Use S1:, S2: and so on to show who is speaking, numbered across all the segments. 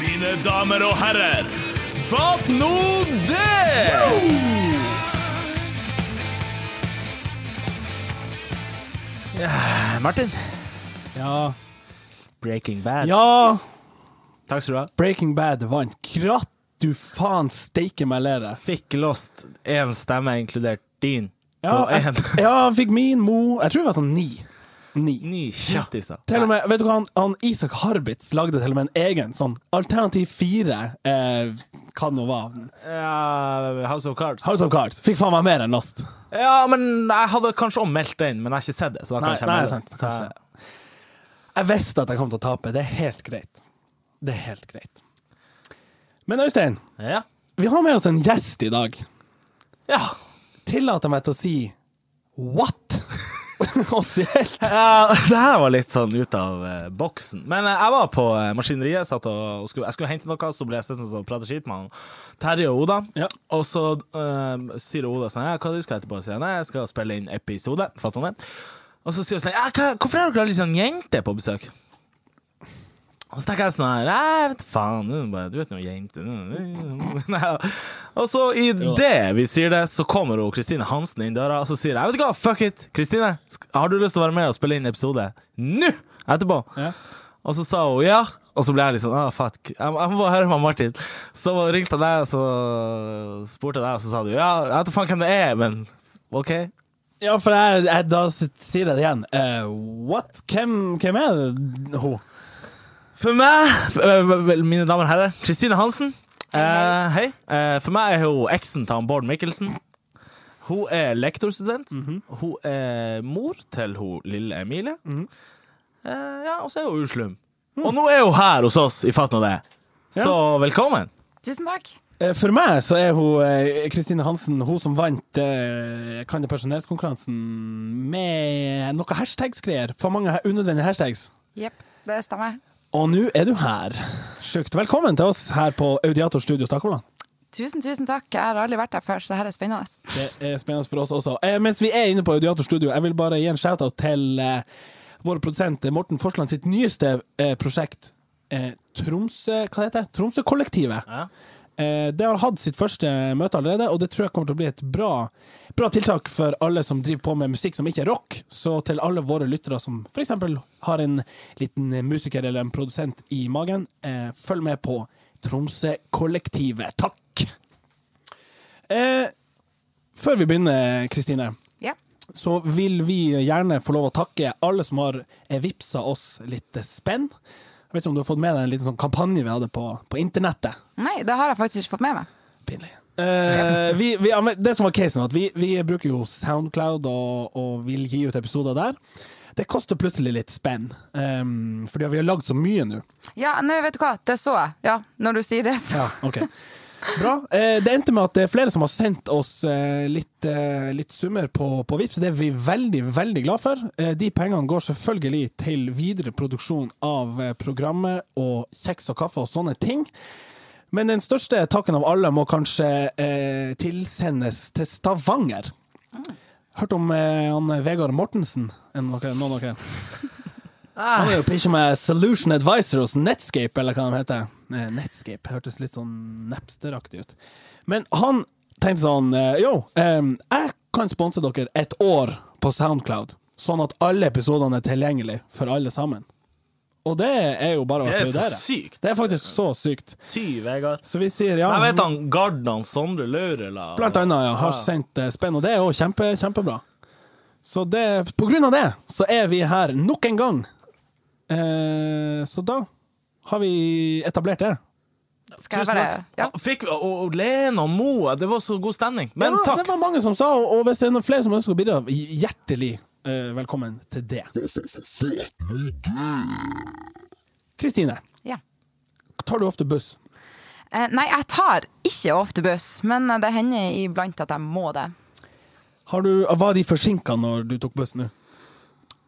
S1: mine damer og herrer, fatt nå det! Martin,
S2: Ja.
S1: Breaking Bad.
S2: ja,
S1: Takk skal du ha.
S2: Breaking Bad vant. Kratt du faen steike meg lere.
S1: Fikk lost én stemme, inkludert din.
S2: Ja,
S1: Så
S2: jeg,
S1: én.
S2: ja, han fikk min mo Jeg tror det var sånn ni. Ni.
S1: Ni kjattiser.
S2: Til og med, vet du hva, han, han Isak Harbitz lagde til og med en egen sånn alternativ fire, eh, hva det nå var,
S1: Ja, Eh, House of Cards.
S2: House of Cards. Fikk faen meg mer enn Lost.
S1: Ja, men jeg hadde kanskje også meldt den, men jeg har ikke sett det. Så da
S2: Nei,
S1: kan jeg ikke
S2: nei,
S1: melde
S2: sant.
S1: det.
S2: Kanskje. Jeg visste at jeg kom til å tape. Det er helt greit. Det er helt greit. Men Øystein,
S1: Så, ja.
S2: vi har med oss en gjest i dag.
S1: ja.
S2: Tillater meg til å si what? Offisielt.
S1: Ja, Eh, det her var litt sånn ut av eh, boksen. Men eh, jeg var på eh, maskineriet. Satt og, og skulle, jeg skulle hente noe, så ble jeg sittende og prate skit med han. Terje og Oda.
S2: Ja.
S1: Og så eh, sier Oda sånn ja, 'Hva du skal etterpå?' Sier jeg nei, jeg skal spille inn episode. Fatter hun det? Og så sier hun sånn ja, hva, 'Hvorfor har dere litt sånn jenter på besøk?' Og så tenker jeg sånn her Nei, vet du faen, du, er bare, du vet noen jenter Og så i det vi sier det, så kommer hun Kristine Hansen inn døra, og så sier jeg Vet du hva, fuck it! Kristine, sk- har du lyst til å være med og spille inn episode nå? Etterpå.
S2: Ja.
S1: Og så sa hun ja, og så ble jeg litt sånn ah, fuck. Jeg, jeg må bare høre med Martin. Så ringte jeg deg, og så spurte jeg deg, og så sa du ja, jeg vet da faen hvem det er, men OK.
S2: Ja, for jeg, jeg, da s- sier jeg det igjen. Eh, what? Hvem, hvem er det? Hun?
S1: For meg, eh, mine damer og herrer, Kristine Hansen. Eh, hei. Eh, for meg er hun eksen til han Bård Mikkelsen. Hun er lektorstudent. Hun er mor til hun lille Emilie. eh, ja, og så er hun uslum. Og nå er hun her hos oss, i fatt nå det. Så velkommen.
S3: Tusen takk.
S2: Eh, For meg så er hun eh, Kristine Hansen, hun som vant eh, Kan det personellskonkurransen med noe hashtagsgreier. For mange he- unødvendige hashtags.
S3: Jepp, det stemmer.
S2: Og nå er du her. Sjukt. Velkommen til oss her på Audiator Studio Stakkevollan.
S3: Tusen, tusen takk. Jeg har aldri vært der før, så det her er spennende.
S2: Det er spennende for oss også. Eh, mens vi er inne på Audiator Studio, jeg vil bare gi en shout-out til eh, vår produsent eh, Morten Forsland sitt nyeste eh, prosjekt, eh, Tromsø... Hva heter det? Tromsøkollektivet.
S1: Ja.
S2: Eh, det har hatt sitt første møte allerede, og det tror jeg kommer til å bli et bra, bra tiltak for alle som driver på med musikk som ikke er rock. Så til alle våre lyttere som f.eks. har en liten musiker eller en produsent i magen, eh, følg med på Tromsøkollektivet. Takk! Eh, før vi begynner, Kristine,
S3: Ja.
S2: så vil vi gjerne få lov å takke alle som har eh, vippsa oss litt eh, spenn. Jeg vet ikke om du har fått med deg en liten sånn kampanje vi hadde på, på internettet.
S3: Nei, det har jeg faktisk ikke fått med meg.
S2: Pinlig. Eh, vi, vi, ja, men det som var casen, var at vi, vi bruker jo Soundcloud og, og vil gi ut episoder der. Det koster plutselig litt spenn, ehm, fordi vi har lagd så mye nå.
S3: Ja, nei, vet du hva, det så jeg. Ja, når du sier det, så.
S2: Ja, ok. Bra. Eh, det endte med at det er flere som har sendt oss eh, litt, eh, litt summer på, på Vipps. Det er vi veldig, veldig glad for. Eh, de pengene går selvfølgelig til videre produksjon av eh, programmet og kjeks og kaffe og sånne ting. Men den største takken av alle må kanskje eh, tilsendes til Stavanger. Hørt om eh, han Vegard Mortensen? En, av dere- noen av dere?
S1: Ah.
S2: Han er jo ikke med Solution Advisor hos Netscape, eller hva de heter. Eh, Netscape hørtes litt sånn Napster-aktig ut. Men han tenkte sånn eh, Yo, eh, jeg kan sponse dere et år på Soundcloud, sånn at alle episodene er tilgjengelige for alle sammen. Og det er jo bare å
S1: Det er så
S2: applaudere.
S1: sykt.
S2: Det er faktisk så sykt.
S1: Ty, Vegard.
S2: Så vi sier ja.
S1: Jeg vet han garden Sondre Laurela
S2: Blant annet, ja. Har
S1: Ja.
S2: sendt eh, spenn, og det er jo kjempe, kjempebra. Så det, på grunn av det, så er vi her nok en gang. Eh, så da har vi etablert det.
S3: Skal jeg
S1: Tusen
S3: bare
S1: takk.
S3: Ja.
S1: Fikk, og, og Lene og Moa, det var så god stemning. Men
S2: ja,
S1: takk.
S2: Det var mange som sa, og og hvis det er noen flere som ønsker å bidra, hjertelig eh, velkommen til det. Kristine,
S3: ja.
S2: tar du ofte buss?
S3: Eh, Nei, jeg tar ikke ofte buss, men eh, det hender iblant at jeg må det.
S2: Har du, var de forsinka når du tok buss nå?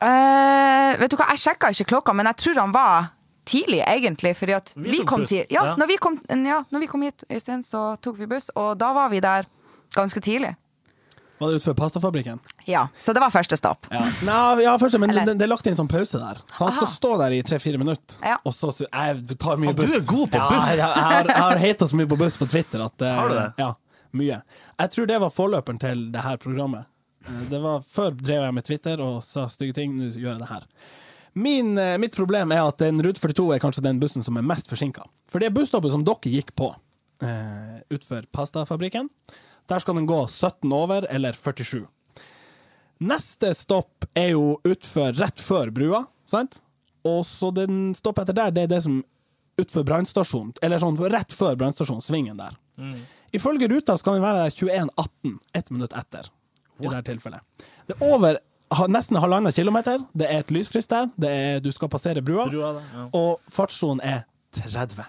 S3: Eh, vet du hva, jeg sjekka ikke klokka, men jeg tror han var tidlig, egentlig. Fordi at
S1: Vi
S3: vi,
S1: tok
S3: kom
S1: buss,
S3: til ja,
S1: ja.
S3: Når vi kom, ja, når vi kom hit, Øystein, så tok vi buss, og da var vi der ganske tidlig.
S2: Var Var det utenfor pastafabrikken?
S3: Ja, så det var første stopp.
S2: Ja, Nei, ja først, men
S3: Eller-
S2: det, det er lagt inn sånn pause der. Så han skal
S3: Aha.
S2: stå der i tre-fire minutter.
S3: Ja.
S2: Og så så- Jeg tar mye
S1: Faen, du
S2: buss.
S1: er god på
S2: ja,
S1: buss.
S2: Jeg, jeg, har- jeg har hata så mye på buss på Twitter at eh,
S1: Har du det?
S2: Ja, mye. Jeg tror det var forløperen til det her programmet. Eh, Det var Før drev jeg med Twitter og sa stygge ting, nå gjør jeg det her. Min, eh, mitt problem er at den Rute 42 er kanskje den bussen som er mest forsinka. For det busstoppet som dere gikk på eh, utfor pastafabrikken, der skal den gå 17 over eller 47. Neste stopp er jo utfor rett før brua, sant? Og så den stoppet etter der, det er det som utfor brannstasjonen, eller sånn rett før brannstasjonen, svingen der.
S1: Mm.
S2: Ifølge ruta skal den være der 21.18, ett minutt etter, i dette tilfellet. Det er over ha- nesten halvannen kilometer, det er et lyskryss der, det er, du skal passere brua,
S1: Brua der, ja.
S2: og fartssonen er 30.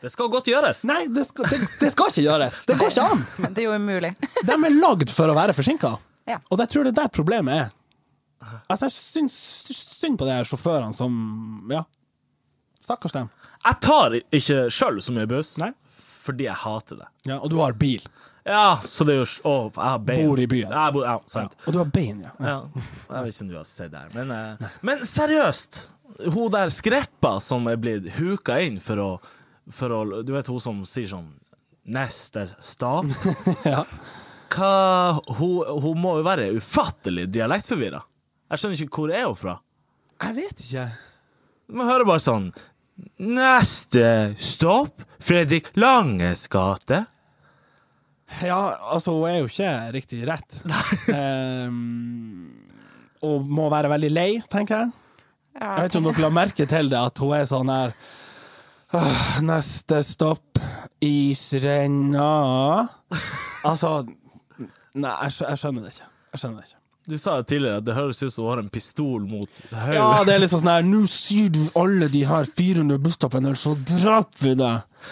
S1: Det skal godt gjøres.
S2: Nei, det skal, det, det skal ikke gjøres! Det går ikke an!
S3: Det er jo umulig.
S2: De er lagd for å være forsinka,
S3: Ja.
S2: og jeg tror det er der problemet er. Altså, jeg syns synd på de her sjåførene som Ja, stakkars dem.
S1: Jeg tar ikke sjøl så mye buss,
S2: Nei.
S1: fordi jeg hater det.
S2: Ja, og du har bil,
S1: Ja, så det er jo s- Å, jeg har bein.
S2: Bor i byen.
S1: Jeg bor, ja, sant.
S2: og du har bein, ja.
S1: Ja. Jeg vet ikke om du har sett det her, men, eh, men seriøst. Hun der skreppa som er blitt huka inn for å, for å Du vet hun som sier sånn Neste stopp.
S2: Ja.
S1: Hva hun, hun må jo være ufattelig dialektforvirra. Jeg skjønner ikke hvor er hun fra.
S2: Jeg vet ikke.
S1: Man hører bare sånn Neste stopp Fredrik Langes gate.
S2: Ja, altså, hun er jo ikke riktig rett. Ehm, og må være veldig lei, tenker jeg. Jeg vet ikke om dere la merke til det, at hun er sånn her «Åh, Neste stopp, isrenna. Altså Nei, jeg, skjø- jeg skjønner det ikke. Jeg skjønner det ikke.
S1: Du sa jo tidligere at det høres ut som hun har en pistol mot hodet.
S2: Ja, det er liksom sånn her Nå sier du alle de her 400 busstoppene, eller så dreper vi deg!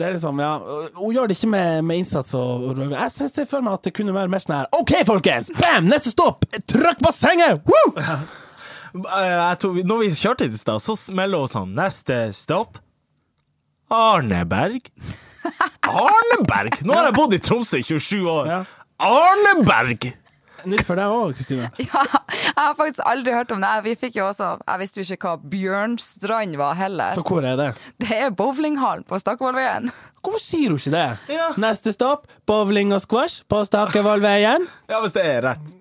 S2: Det er liksom, ja Hun gjør det ikke med, med innsats og og- Jeg ser- ser for meg at det kunne være mer sånn her OK, folkens! Bam! Neste stopp! Trykk bassenget! Woo!
S1: Eh, jeg tror vi, når vi kjørte hit i stad, så smeller hun sånn Neste stopp Arneberg. Arneberg! Nå har jeg bodd i Tromsø i 27 år.
S2: Ja.
S1: Arneberg!
S2: Nytt for deg òg, Kristine.
S3: Ja, jeg har faktisk aldri hørt om det. Vi fikk jo også, jeg visste jo ikke hva Bjørnstrand var heller.
S2: For hvor er det?
S3: Det er bowlinghallen på Stakkevollveien.
S2: Hvorfor sier hun ikke det?
S1: Ja.
S2: Neste stopp, bowling og squash på Stakevollveien.
S1: Ja, hvis det er rett.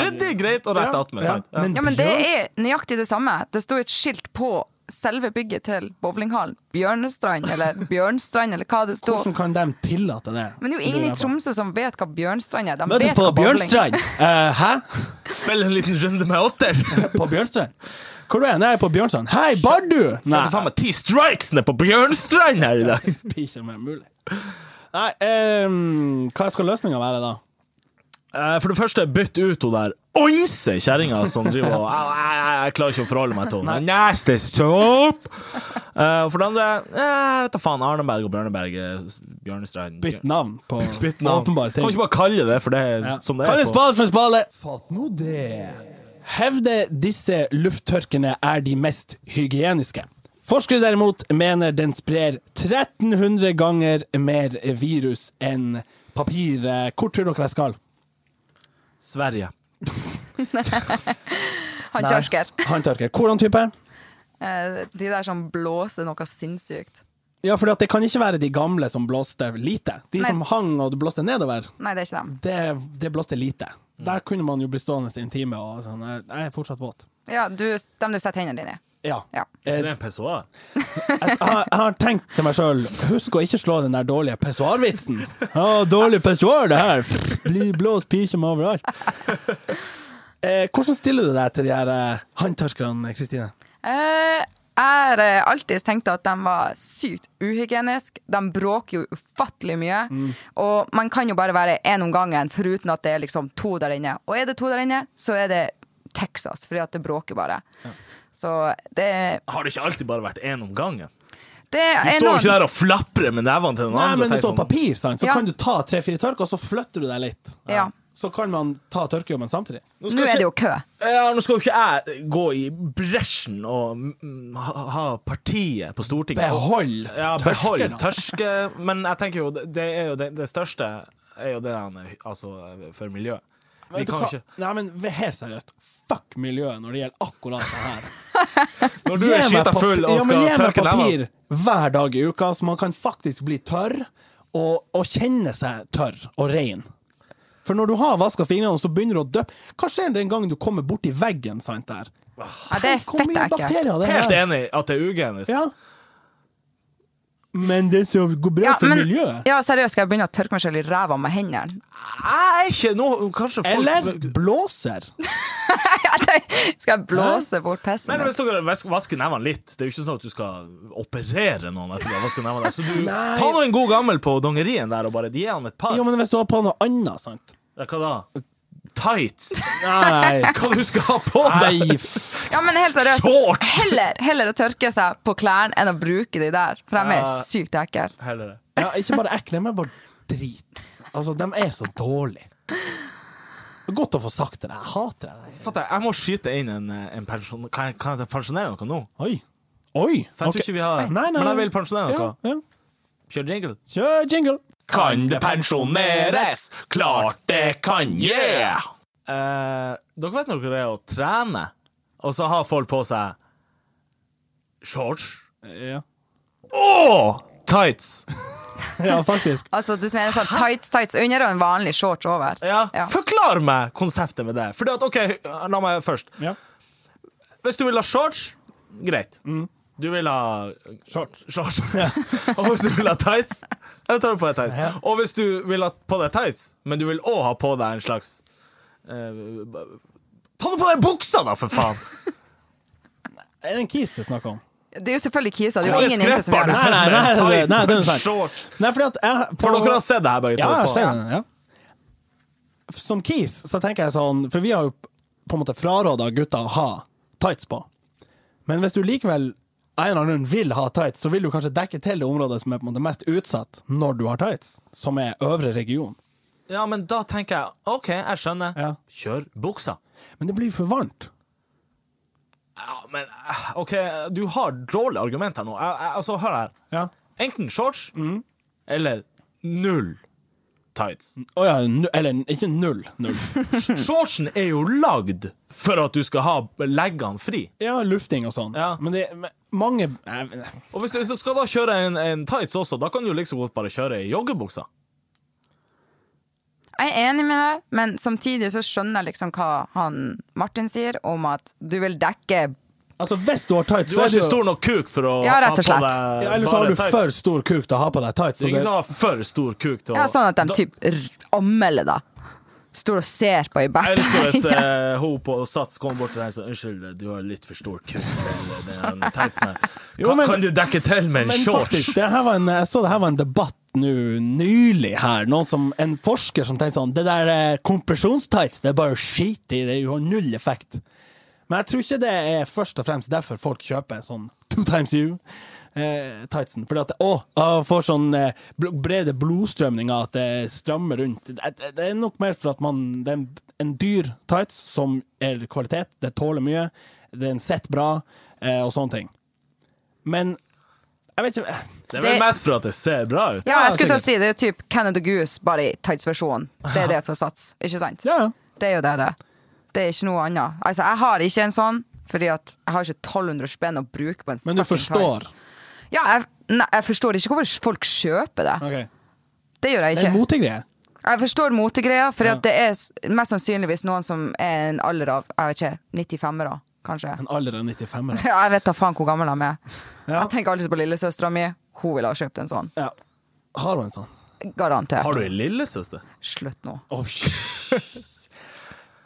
S1: Ryddig, greit og rett
S2: Ja,
S1: attmed.
S2: ja.
S1: sant? Ja.
S2: Men-
S3: Ja, men det er nøyaktig det samme. Det sto et skilt på selve bygget til bowlinghallen. Bjørnestrand, eller Bjørnstrand, eller hva det sto.
S2: Hvordan kan de tillate det?
S3: Men det er jo ingen i Tromsø som vet hva Bjørnstrand er. De
S2: Møtes
S3: vet
S2: på
S3: hva bowling-
S2: Bjørnstrand! Eh, hæ?
S1: Spill en liten runde med åtter.
S2: På Bjørnstrand? Hvor er du? Nei, på Bjørnstrand. Hei, Bardu!
S1: Nei. Faen meg ti strikes nede på Bjørnstrand her i dag.
S2: Ikke mer mulig. Nei, ehm, hva skal løsninga være, da?
S1: Eh, For det første, bytt ut hun der onse kjerringa som driver og Au, au, au, Jeg klarer ikke å forholde meg til henne. Neste sopp! Eh, Og for det andre, eh, vet da faen. Arneberg og Bjørneberg eh, Bjørnestrand
S2: Bytt navn på
S1: Bytt navn.
S2: åpenbare ting.
S1: Kan ikke bare kalle det for det
S2: Ja.
S1: som det
S2: Kall
S1: er.
S2: en spade for en spade! Fatt nå det. Hevde disse lufttørkene er de mest hygieniske. Forskere derimot mener den sprer 1300 ganger mer virus enn papir. Hvor tror dere jeg skal?
S1: Sverige.
S3: Han kjørsker.
S2: Håndtørker. Hvordan type?
S3: Eh, De der som blåser noe sinnssykt.
S2: Ja, for det kan ikke være de gamle som blåste lite. De
S3: Nei.
S2: som hang og blåste nedover.
S3: Nei, det er ikke dem.
S2: det, det blåste lite. Der kunne man jo bli stående i en time og sånn Jeg jeg er fortsatt våt.
S3: Ja, du, dem du setter hendene dine i.
S2: Ja.
S3: Ja.
S1: Så
S2: Eh,
S1: det er en pessoa?
S2: Jeg, jeg har- jeg har tenkt til meg sjøl Husk å ikke slå den der dårlige pessoarvitsen. Ja, dårlig pessoar, det her. Blir blåst pysjom overalt. Eh, hvordan stiller du deg til de her eh, håndtørkerne, Kristine?
S3: Eh, Jeg har eh, alltid tenkt at de var sykt uhygieniske. De bråker jo ufattelig mye.
S1: Mm.
S3: Og man kan jo bare være én om gangen, foruten at det er liksom to der inne. Og er det to der inne, så er det Texas, fordi at det bråker bare. Så det,
S1: Har det ikke alltid bare vært én om gangen? Du
S3: det er
S1: står jo ikke der og flaprer med nevene til den
S2: Nei,
S1: andre.
S2: men det
S1: og tenker
S2: står
S1: sånn,
S2: papir, sant? så
S3: Ja.
S2: kan du ta tre-fire tørk, og så flytter du deg litt.
S3: Ja.
S2: Så kan man ta tørkejobben samtidig.
S1: Nå
S3: Nå
S1: skal
S3: er
S1: ikke-
S3: det jo kø.
S1: Ja, nå skal jo ikke jeg gå i bresjen og mm, ha, ha partiet på Stortinget.
S2: Behold
S1: ja, behold
S2: tørkene.
S1: tørske. Men jeg tenker jo, det det er jo det, det største er jo det han er altså, for miljøet. Vi
S2: Vet du
S1: kan
S2: hva?
S1: ikke
S2: Nei, men helt seriøst. Fuck miljøet når det gjelder akkurat det her.
S1: Når du er
S2: Gi meg
S1: skita
S2: pap-
S1: full og
S2: ja, men
S1: skal tørke
S2: Gi meg
S1: nevene
S2: papir hver dag i uka, så man kan faktisk bli tørr, og, og kjenne seg tørr og rein. For når du har vaska fingrene, og så begynner du å døppe Hva skjer den gangen du kommer borti veggen? sant der?
S3: Ja, det er
S2: Tenk hvor
S3: fett
S2: mye
S3: ekkelt.
S2: bakterier det er.
S1: Helt enig at det er ugenisk.
S2: Ja. Men det som går bra for
S3: men-
S2: miljøet
S3: ja, seriøst, skal jeg begynne å tørke meg selv i ræva med hendene?
S1: Jeg er ikke noe Kanskje folk
S2: Eller blåser.
S3: skal jeg blåse bort pissen?
S1: Nei, men
S3: min?
S1: hvis dere vas- vasker nevene litt Det er jo ikke sånn at du skal operere noen etter å ha vasket nevene. Så du,
S2: Nei.
S1: ta nå en god gammel på dongerien der og bare gi han et par.
S2: Jo, men hvis du har på noe annet, sant
S1: Ja, Hva da? Tights?
S2: Nei,
S1: Hva du skal ha på deg?
S2: nei f-
S3: Ja, men helt seriøst.
S1: Shorts!
S3: Heller, heller å tørke seg på klærne enn å bruke de der, for de
S1: Ja.
S3: er sykt ekle.
S1: Heller det.
S2: ja, Ikke bare ekle, men bare drit. Altså, de er så dårlige. Det er Godt å få sagt det. Jeg hater det.
S1: Fatter, jeg må skyte inn en, eh, en pensjon... Kan jeg, kan jeg pensjonere noe nå?
S2: Oi. Oi!
S1: For jeg
S2: ok.
S1: tror ikke vi har
S2: Nei, nei,
S1: Men
S2: nei.
S1: jeg vil pensjonere noe.
S2: Ja, ja.
S1: Kjør jingle.
S2: Kjør jingle.
S4: Kan det pensjoneres? Klart det kan, yeah!
S1: Eh, dere vet når det er å trene, og så har folk på seg shorts
S2: Ja,
S1: og tights.
S2: faktisk.
S3: Altså, du mener sånn tights, tights under og en vanlig shorts over?
S1: Ja.
S3: Ja.
S1: Forklar meg konseptet med det. Fordi at, ok, La meg først.
S2: Ja.
S1: Hvis du vil ha shorts, greit. Du vil ha
S2: Short.
S1: shorts. og hvis du vil ha tights, da tar du på deg tights.
S2: Ja.
S1: Og hvis du vil ha på deg tights, men du vil òg ha på deg en slags eh, Ta nå på deg buksa, da, for faen!
S2: Er det en kis det er snakk om?
S3: Det er jo selvfølgelig kisa. Det er
S1: Hva
S3: jo
S1: er
S3: ingen jenter som
S1: skrepper du
S3: gjør det.
S2: Nei, nei, nei,
S1: sender med
S2: nei,
S1: tights
S2: nei,
S1: og
S2: den
S1: en
S2: er sant.
S1: shorts?
S2: Nei, fordi at jeg på-
S1: For dere har sett det her, begge
S2: Ja, jeg
S1: to.
S2: ser
S1: på-
S2: den, ja. Som kis så tenker jeg sånn For vi har jo på en måte fraråda gutta å ha tights på. Men hvis du likevel av en eller annen grunn vil ha tights, så vil du kanskje dekke til det området som er på en måte mest utsatt når du har tights, som er øvre region.
S1: Ja, men da tenker jeg OK, jeg skjønner.
S2: Ja.
S1: Kjør buksa.
S2: Men det blir for varmt.
S1: Ja, men eh, OK, du har dårlige argumenter nå. Jeg, jeg, altså, hør her.
S2: Ja. Mm.
S1: Enten shorts eller null tights.
S2: Å ja, nu- eller ikke null. Null.
S1: Shortsen er jo lagd for at du skal ha leggene fri.
S2: Ja, lufting og sånn.
S1: Ja.
S2: Men det men mange jeg,
S1: Og hvis du, hvis du skal da kjøre en, en tights også, da kan du like så godt bare kjøre i joggebuksa.
S3: Jeg er enig med deg, men samtidig så skjønner jeg liksom hva han Martin sier om at du vil dekke
S2: Altså, hvis du har tights,
S1: Du
S2: så er
S1: har
S2: det jo
S1: ikke stor nok kuk for å
S3: Ja, rett og slett.
S1: deg
S2: ja, Ellers har
S1: bare
S2: du for stor kuk til å ha på deg tights. så
S1: Det er ingen
S2: det-
S1: som har for stor kuk til å
S3: Ja, sånn at
S1: Da-
S3: de typ r- anmelder deg. Står og ser på i
S1: Jeg elsker hvis
S3: bæsjen.
S1: eh, hun på Sats kommer bort til deg og sier Unnskyld, du har litt for stor kuk. til den tightsen her.
S2: Jo,
S1: Kan,
S2: men-
S1: kan du dekke til med en
S2: Men
S1: shorts?
S2: faktisk, det her var en, jeg så det her var en debatt nå nylig her. Noen som, en forsker som tenkte sånn Det der eh, kompresjonstights, det er bare å skite i, det er jo null effekt. Men jeg tror ikke det er først og fremst derfor folk kjøper sånn two times you. Eh, tightsen. Fordi at Å, jeg får sånn eh, bl- brede blodstrømninger at det strammer rundt. Det, det, det er nok mer for at man Det er en, en dyr tights som er kvalitet, det tåler mye, den sitter bra, eh, og sånne ting. Men jeg vet ikke eh.
S1: Det er vel
S3: Det-
S1: mest for at det ser bra ut.
S3: Ja, jeg
S2: Ja,
S3: skulle til å
S2: sikkert.
S3: si det er typ Canada Goose, bare i tights-versjonen. Det er det på Sats, ikke sant?
S2: Ja, ja.
S3: Det er jo det det er. Det er ikke noe annet. Altså, jeg har ikke en sånn, fordi at jeg har ikke 1200 spenn å bruke på en
S2: Men du
S3: fucking
S2: forstår.
S3: tights. Ja, jeg, nei, jeg forstår ikke hvorfor folk kjøper det. Det gjør jeg
S2: Det er en
S3: ikke.
S2: motegreie.
S3: Jeg forstår motegreia, for det er s- mest sannsynligvis noen som er en alder av jeg vet ikke, 95-ere, kanskje.
S2: En alder av 95
S3: Ja, Jeg vet da faen hvor gammel de er.
S2: Ja.
S3: Jeg tenker alltid på lillesøstera mi. Hun ville ha kjøpt en sånn.
S2: Ja. Har hun en sånn?
S3: Garantert.
S1: Har du ei lillesøster?
S3: Slutt nå.
S2: Oi.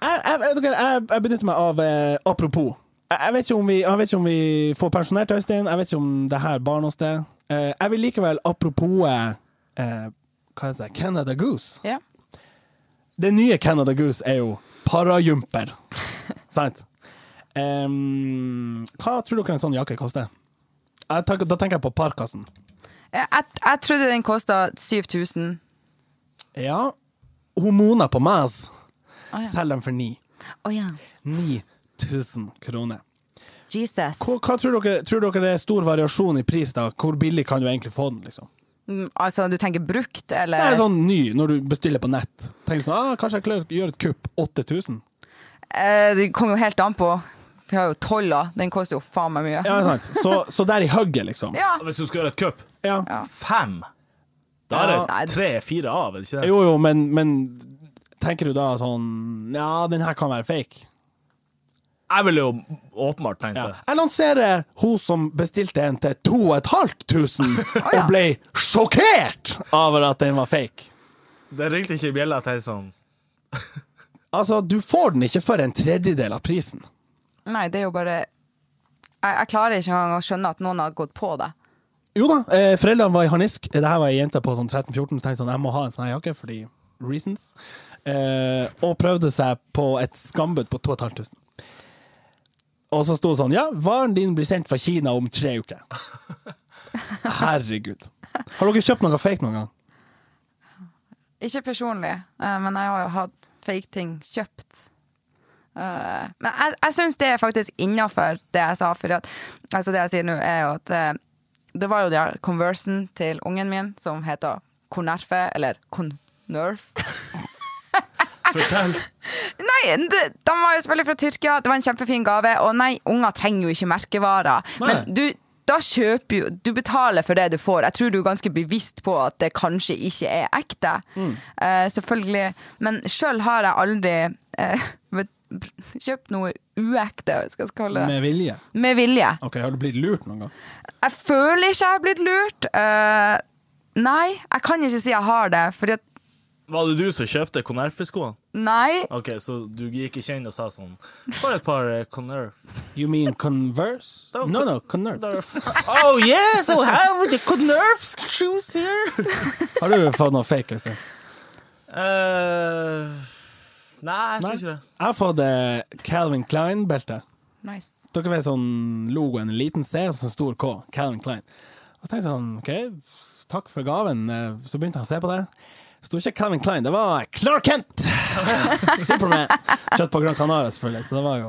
S2: jeg, jeg, vet dere, jeg, jeg benytter meg av eh, apropos. Jeg, jeg, vet ikke om vi, jeg vet ikke om vi får pensjonert Øystein, jeg vet ikke om det her barn hos det. Eh, jeg vil likevel apropos eh, eh, hva heter det? Canada Goose.
S3: Ja.
S2: Det nye Canada Goose er jo parajumper. Sant? Em, hva tror dere en sånn jakke koster? Jeg tenker, da tenker jeg på parkasen.
S3: Jeg, jeg, jeg trodde den kosta 7000.
S2: Ja. Hun Mona på Maz
S3: Å ja.
S2: selger den for ni.
S3: Å ja.
S2: 9000 kroner.
S3: Jesus.
S2: Hva, hva tror, dere, tror dere det er stor variasjon i pris, da? Hvor billig kan du egentlig få den? liksom?
S3: Mm, Altså, du tenker brukt, eller?
S2: Det er sånn ny når du bestiller på nett. Tenk sånn, ah, Kanskje jeg klarer å gjøre et kupp. 8000.
S3: Eh, det kommer jo helt an på. Vi har jo tolla. Den koster jo faen meg mye.
S2: Ja, sant. Så, så der i hugget, liksom.
S3: Ja.
S1: Hvis du skal gjøre et cup,
S2: Ja.
S1: fem! Da er
S2: Ja.
S1: det tre-fire av, er det ikke det?
S2: Jo, jo, men, men tenker du da sånn Ja, den her kan være fake.
S1: Jeg ville jo åpenbart tenkt
S2: Ja.
S1: det.
S2: Jeg lanserer hun som bestilte en til 2500 og ble sjokkert over at den var fake.
S1: Det ringte ikke i bjella til sånn
S2: Altså, du får den ikke for en tredjedel av prisen.
S3: Nei, det er jo bare jeg, jeg klarer ikke engang å skjønne at noen har gått på det.
S2: Jo da, eh, foreldrene var i harnisk. Det her var ei jente på sånn 13-14 tenkte sånn, jeg må ha en sånn her jakke fordi reasons. Eh, og prøvde seg på et skambud på 2500. Og så sto det sånn, ja, varen din blir sendt fra Kina om tre uker. Herregud. Har dere kjøpt noe fake noen gang?
S3: Ikke personlig, eh, men jeg har jo hatt fake ting kjøpt. Eh, Men jeg, jeg syns det er faktisk innafor det jeg sa, for at, altså det jeg sier nå, er jo at eh, det var jo det her Conversen til ungen min som heter Conerfe, eller Connerf.
S1: Fortell.
S3: Nei, det, de var jo selvfølgelig fra Tyrkia, det var en kjempefin gave. Og nei, unger trenger jo ikke merkevarer. Men du, da kjøper jo Du betaler for det du får. Jeg tror du er ganske bevisst på at det kanskje ikke er ekte. Eh, selvfølgelig. Men sjøl har jeg aldri eh, vet- kjøpt noe uekte, skal jeg kalle det.
S2: Med vilje.
S3: Med vilje.
S2: Ok, har du blitt lurt noen gang?
S3: Jeg føler ikke jeg har blitt lurt. Eh, nei, jeg kan ikke si jeg har det, fordi at
S1: Var det du som kjøpte Conerfe-skoene?
S3: Nei.
S1: OK, så du gikk ikke inn og sa sånn Bare et par eh, Conerf.
S2: You mean converse? No, no, converse.
S1: Oh yes, I have the Conerf shoes here.
S2: Har du fått noe fake? Øystein?
S1: Eh, nei,
S2: Nei.
S1: jeg tror ikke det.
S2: Jeg har fått eh, Calvin Klein-beltet.
S3: Nice.
S2: Dere vet sånn logoen, en liten C og så en stor K, Calvin Klein. Og så tenkte jeg sånn, ok, takk for gaven. Eh, Så begynte han å se på det. Det sto ikke Calvin Klein, det var Clark Kent! Superman! Kjøtt på Gran Canaria, selvfølgelig. Så det var jo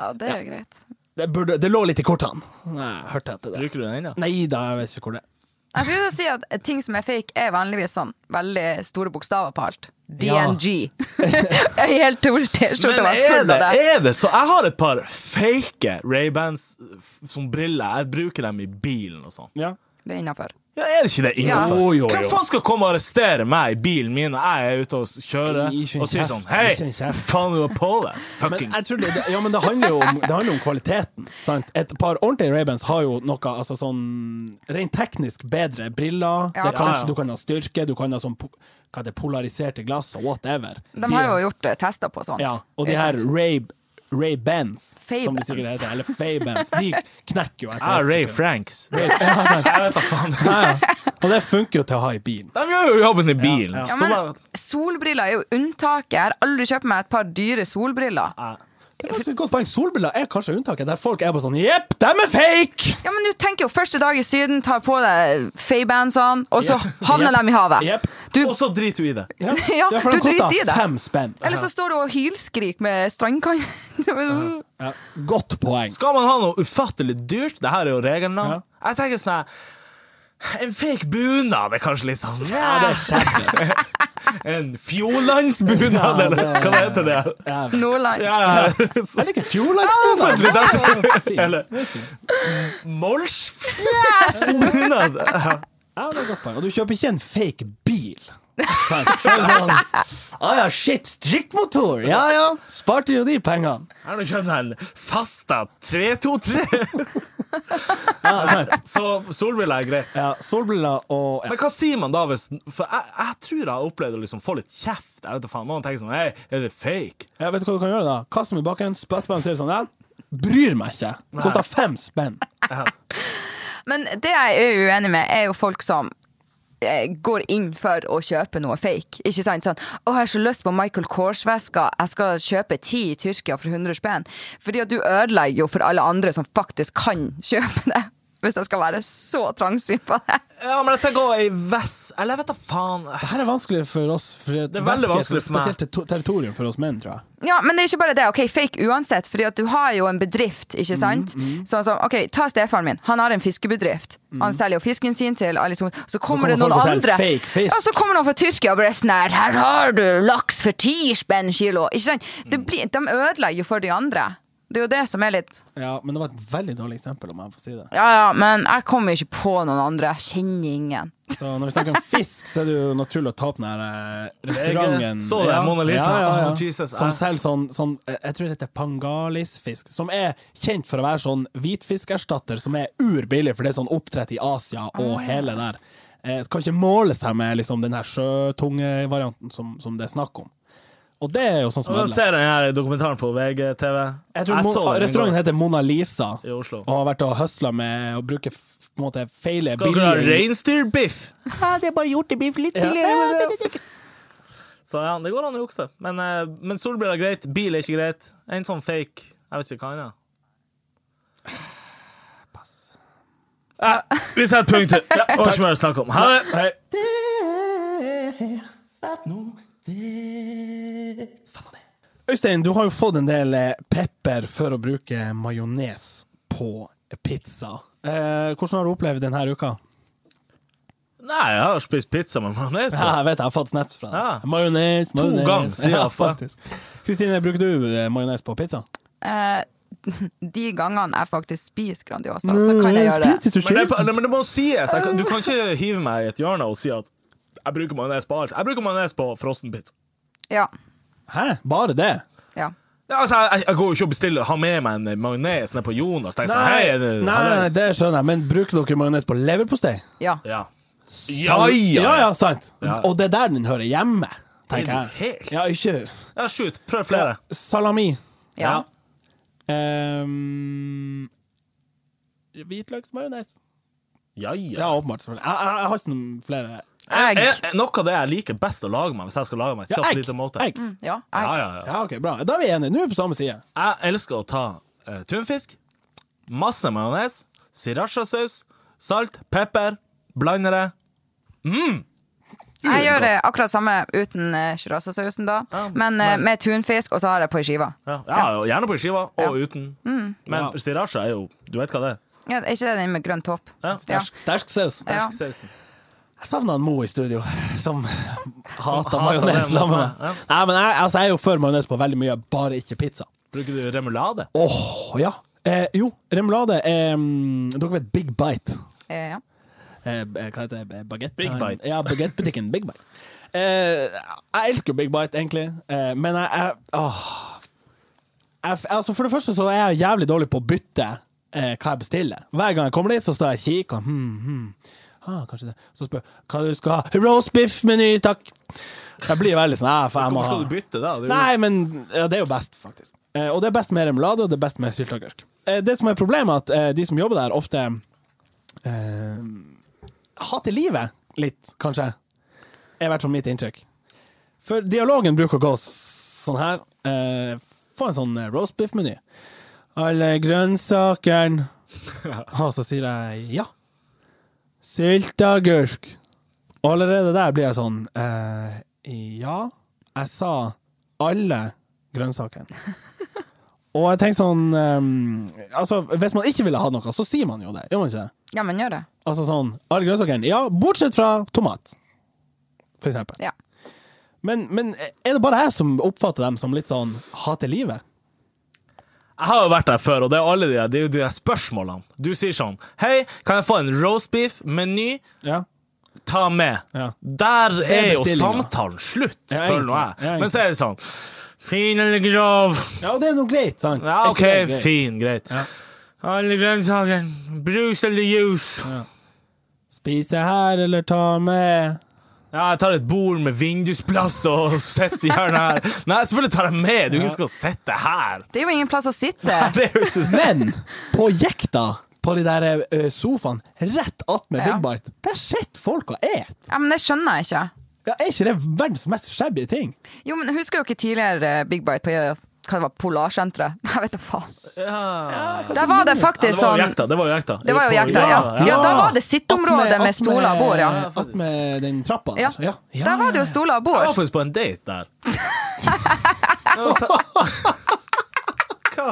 S3: Ja, det er jo greit.
S2: Det, burde, det lå litt i kortene. Nei, jeg hørte etter det.
S1: Bruker du den ennå?
S2: Nei da, jeg vet ikke hvor det er.
S3: Jeg skulle til å si at ting som er fake, er vanligvis sånn veldig store bokstaver på alt.
S2: Ja.
S3: DNG. En hel tor- T-skjorte
S1: Men
S3: var
S1: er
S3: full
S1: det,
S3: av det.
S1: er det så? Jeg har et par fake Ray-Bans eh, som briller. Jeg bruker dem i bilen og sånn.
S2: Ja.
S3: Det er innafor.
S1: Ja, er det ikke det innenfor?
S2: Jo, jo, jo.
S1: Hvem faen skal komme og arrestere meg i bilen min når jeg er ute og kjører
S2: Ikke en
S1: og sier
S2: kjeft,
S1: sånn Hei,
S2: ikke en kjeft."
S1: faen du var på deg,
S2: Men, jeg
S1: fuckings.
S2: tror det, det, ja, men det handler jo om, det handler om kvaliteten. Sant? Et par ordentlige Ray-Bans har jo noe altså, sånn, rent teknisk bedre briller.
S3: Ja.
S2: Det kan,
S1: Ja, ja.
S2: Du kan ha styrke, du kan ha sånn po- hva er det, polariserte glass og whatever.
S3: De har jo gjort eh, tester på sånt.
S2: ja, Og de
S3: Ikke
S2: her
S3: sant?
S2: Ray, Ray Bans,
S3: Fay
S2: som de sikkert
S3: Bans.
S2: heter, eller Fay Bans, de knekker jo etter et
S1: Jeg er Ah, Ray
S2: sekund.
S1: Franks. Jeg vet da faen.
S2: Ja, ja. Og det funker jo til å ha i bilen.
S1: De gjør jo jobben i bilen.
S2: Ja, ja.
S1: Så
S3: Ja, men
S1: da,
S3: solbriller er jo unntaket. Jeg har aldri kjøpt meg et par dyre solbriller.
S2: Det er faktisk et godt poeng. Solbriller er kanskje unntaket, der folk er bare sånn Jepp, dem er fake!
S3: Ja, men du tenker jo første dag i Syden, tar på deg Faybandsene, og så havner de i havet.
S2: Jepp.
S3: Du,
S1: og så driter du i det.
S2: Ja,
S3: Ja,
S2: for
S3: du
S2: den koster
S3: driter i det.
S2: fem spenn.
S3: eller så står du og hylskrik med strandkanten.
S2: Ja, godt poeng.
S1: Skal man ha noe ufattelig dyrt, det her er jo regelen nå,
S2: Ja.
S1: jeg tenker sånn her En fake bunad er kanskje litt sånn En fjordlandsbunad, eller hva det heter det?
S2: Ja,
S3: Nordland.
S1: Ja, så-
S2: Jeg liker
S1: det var
S2: fjordlandsbunad.
S1: faktisk litt artig.
S2: Ja,
S1: Eller Molsfjesbunad.
S2: Ja, det er et godt poeng. Og du kjøper ikke en fake bil. Sant? Det er Sånn, ah, ja, shit, strikkmotor! Ja ja, sparte jo de pengene.
S1: Jeg har nå kjøpt meg en Fasta 323,
S2: Ja, sant.
S1: så solbriller er greit.
S2: Ja, solbriller og ja.
S1: Men hva sier man da hvis For jeg, jeg tror jeg har opplevd å liksom få litt kjeft. Jeg vet da faen, Noen tenker sånn Hei, er det fake?
S2: ja, Vet du hva du kan gjøre, da? Kast dem i bakken, spytt på dem, sier sånn ja, Bryr meg ikke. Kosta fem spenn.
S3: Men det jeg er uenig med, er jo folk som eh, går inn for å kjøpe noe fake. Ikke sant? Sånn, 'Å, jeg har så lyst på Michael Kors-veska. Jeg skal kjøpe ti i Tyrkia for 100 spenn.' Fordi at du ødelegger jo for alle andre som faktisk kan kjøpe det. hvis jeg skal være så trangsynt på det.
S1: Ja, men dette går i vest Eller jeg vet da faen.
S2: Her er vanskelig for oss. For det
S1: er veldig vanskelig for meg.
S2: Spesielt te- territorium for oss menn, tror jeg.
S3: Ja, men det er ikke bare det. Ok, Fake uansett, fordi at du har jo en bedrift,
S2: Mm,
S3: ikke sant? Sånn som, ok, Ta stefaren min. Han har en fiskebedrift. Han selger jo fisken sin til alle som Så kommer,
S2: Mm. kommer
S3: det noen
S2: folk og selger
S3: andre.
S2: fake fisk.
S3: Ja, så kommer noen fra Tyrkia og bare sånn her Her har du laks for ti spenn kilo! Ikke sant? Det
S2: Mm.
S3: blir, de ødelegger jo for de andre. Det er jo det som er litt
S2: Ja, men det var et veldig dårlig eksempel, om jeg får si det.
S3: Ja ja, men jeg kommer jo ikke på noen andre. Jeg kjenner ingen.
S2: Så når vi snakker om fisk, så er det jo naturlig å ta opp den her eh, restauranten.
S1: Jeg så det, Mona Lisa. Å, Jesus, Ah.
S2: Som
S1: jeg-
S2: selger sånn, sånn eh, Jeg tror det heter pangalisfisk. Som er kjent for å være sånn hvitfiskerstatter som er urbillig, for det er sånn oppdrett i Asia
S1: Ah.
S2: og hele der. Eh, kan ikke måle seg med liksom, den her sjøtungevarianten som, som det er snakk om. Og det er jo sånn som
S1: Og da
S2: ødelegger.
S1: ser jeg den her dokumentaren på VGTV.
S2: Jeg tror
S1: så
S2: Mon-
S1: den en
S2: restauranten
S1: gang
S2: heter Mona Lisa,
S1: i Oslo.
S2: og har vært og høsla med å bruke f- på en måte feile
S1: Skal dere ha
S2: billige-
S1: reinsdyrbiff? Ja, det er bare gjort i biff litt
S2: Ja.
S1: Så ja, det går an å jukse. Men, eh, men solbriller er greit, bil er ikke greit. En sånn fake Jeg vet ikke hva annet. Pass. Eh, vi setter punktum. Ja, det var ikke mer å snakke om. Ha det!
S2: Øystein, du har jo fått en del eh, pepper for å bruke majones på pizza. Eh, hvordan har du opplevd denne uka?
S1: Nei, jeg har spist pizza med majones på.
S2: Ja, jeg vet, jeg har fått snaps fra deg.
S1: Ja.
S2: Majones, majones.
S1: ganger sier jeg
S2: ja,
S1: faen.
S2: faktisk. Kristine, bruker du eh, majones på pizza?
S3: Eh, de gangene jeg faktisk spiser Grandiosa, så kan
S2: Mm,
S3: jeg gjøre det.
S1: Men det, nei, men det må sies. Jeg kan, du kan ikke hive meg i et hjørne og si at jeg bruker majones på alt. Jeg bruker majones på frossenpizza.
S3: Ja.
S2: Hæ? Bare det?
S3: ja.
S1: Ja, altså, jeg, jeg går jo ikke og bestiller Ha med meg en majones ned på Jonas. Tenk sånn, hei,
S2: nei,
S1: er det
S2: nei, nei, det skjønner jeg, men bruker dere majones på leverpostei?
S3: Ja.
S1: Ja. Ja, ja.
S2: ja, ja, sant.
S1: Ja.
S2: Og det er der den hører hjemme, tenker
S1: Er du
S2: jeg.
S1: helt-
S2: Ja, ikke
S1: ja shoot. Prøv flere.
S2: Salami.
S3: ja.
S2: Um, Hvitløksmajones.
S1: Ja, ja.
S2: Ja, åpenbart. selvfølgelig. Jeg, jeg, jeg har ikke noen flere.
S3: Egg.
S1: Jeg, noe av det jeg liker best å lage meg, hvis jeg skal lage meg et kjapt lite måte.
S2: Egg.
S3: Mm, Ja,
S1: Ja,
S3: egg.
S1: ja, ja.
S2: Ja, ok, bra. Da er vi enige. Nå er vi på samme side.
S1: Jeg elsker å ta eh, tunfisk, masse majones, srirachasaus, salt, pepper, blande det.
S3: Jeg gjør det akkurat samme uten uh, shirasasausen da, men eh, med tunfisk, og så har jeg på i skiva.
S1: Ja, ja, og gjerne på skiva, og uten. Men
S2: Ja.
S1: sriracha er jo Du vet hva det er?
S3: Ja, er ikke det den med grønn topp?
S1: Ja.
S3: Ja.
S2: Sterk, sterk saus.
S3: Ja.
S1: Fersk sausen.
S2: Jeg savna Mo i studio, som hater
S1: hater
S2: majones
S1: det,
S2: sammen med
S1: ja.
S2: meg. Nei, men jeg, altså, jeg er jo for majones på veldig mye, bare ikke pizza.
S1: Bruker du remulade?
S2: Åh, ja. Eh, jo, remulade eh, Dere vet Big Bite.
S3: Eh, ja.
S2: Eh, hva heter det? Baguette?
S1: Big Bite.
S2: Ja, baguettbutikken Big Bite. Eh, jeg elsker jo Big Bite, egentlig, eh, men jeg, jeg Åh. Jeg, altså for det første så er jeg jævlig dårlig på å bytte eh, hva jeg bestiller. Hver gang jeg kommer dit, så står jeg og kikker. Hmm, hmm. Ah, kanskje det. Så spør jeg hva du skal ha. Roast beef-meny, takk! Jeg blir veldig sånn "Ah, faen, jeg må
S1: Hvorfor skal
S2: ha-
S1: du bytte da? Det er jo-
S2: Nei, men ja, det er jo best, faktisk. Eh, og det er best med remulade, og det er best med sylteagurk. Eh, det som er problemet, er at eh, de som jobber der, ofte eh, hater livet litt, kanskje. Er i hvert fall mitt inntrykk. For dialogen bruker å gå s- sånn her. Eh, få en sånn eh, roast beef-meny. Alle grønnsakene. Og så sier jeg ja. Sylteagurk. Og allerede der blir jeg sånn eh, Ja, jeg sa alle grønnsakene. Og jeg tenker sånn eh, Altså, hvis man ikke ville ha noe, så sier man jo det, gjør man ikke det?
S3: ja, men gjør det.
S2: Altså sånn Alle grønnsakene. Ja, bortsett fra tomat, for eksempel.
S3: Ja.
S2: Men, men eh, er det bare jeg som oppfatter dem som litt sånn hater livet?
S1: Jeg har jo vært der før, og det er, alle de, det er jo de der spørsmålene. Du sier sånn Hei, kan jeg få en roast beef-meny?
S2: Ja.
S1: Ta med.
S2: Ja.
S1: Der er,
S2: er
S1: jo
S2: bestillingen.
S1: samtalen slutt,
S2: Ja,
S1: føler nå
S2: egentlig.
S1: jeg.
S2: Ja,
S1: Men så er det sånn Fin eller grov?
S2: ja, og det er noe greit, sant?
S1: Ja,
S2: Er
S1: OK,
S2: ikke det greit?
S1: fin, greit. Alle grønnsaker. Brus eller juice?
S2: Spise her, eller ta med
S1: Ja, jeg tar et bord med vindusplass og sitter i hjørnet her. Nei, selvfølgelig tar jeg med. Du ikke skal sitte her.
S3: Det er jo ingen plass å sitte.
S1: Det er jo ikke det.
S2: Men på jekta, på de der ø, sofaen rett attmed
S3: Ja.
S2: Big Bite, der sitter folk og et.
S3: Ja, men det skjønner jeg ikke.
S2: Ja, er ikke det verdens mest shabby ting?
S3: Jo, men husker dere tidligere eh, Big Bite på hva det var, Polarsenteret. Jeg vet da faen.
S1: Ja.
S3: Der var det
S1: Ja,
S3: faktisk
S1: det var
S3: sånn
S1: jo jekta. Det var jo jekta.
S3: Det var jo jekta, ja.
S1: ja.
S3: Ja, da var det sitteområde
S2: Attmed-
S3: med stoler og bord, ja.
S2: attmed- Attmed den trappa der.
S3: Ja.
S2: Ja. Ja,
S3: Der var det jo stoler og
S1: Jeg var
S3: bord.
S1: faktisk på en date der. Det var så- Hva?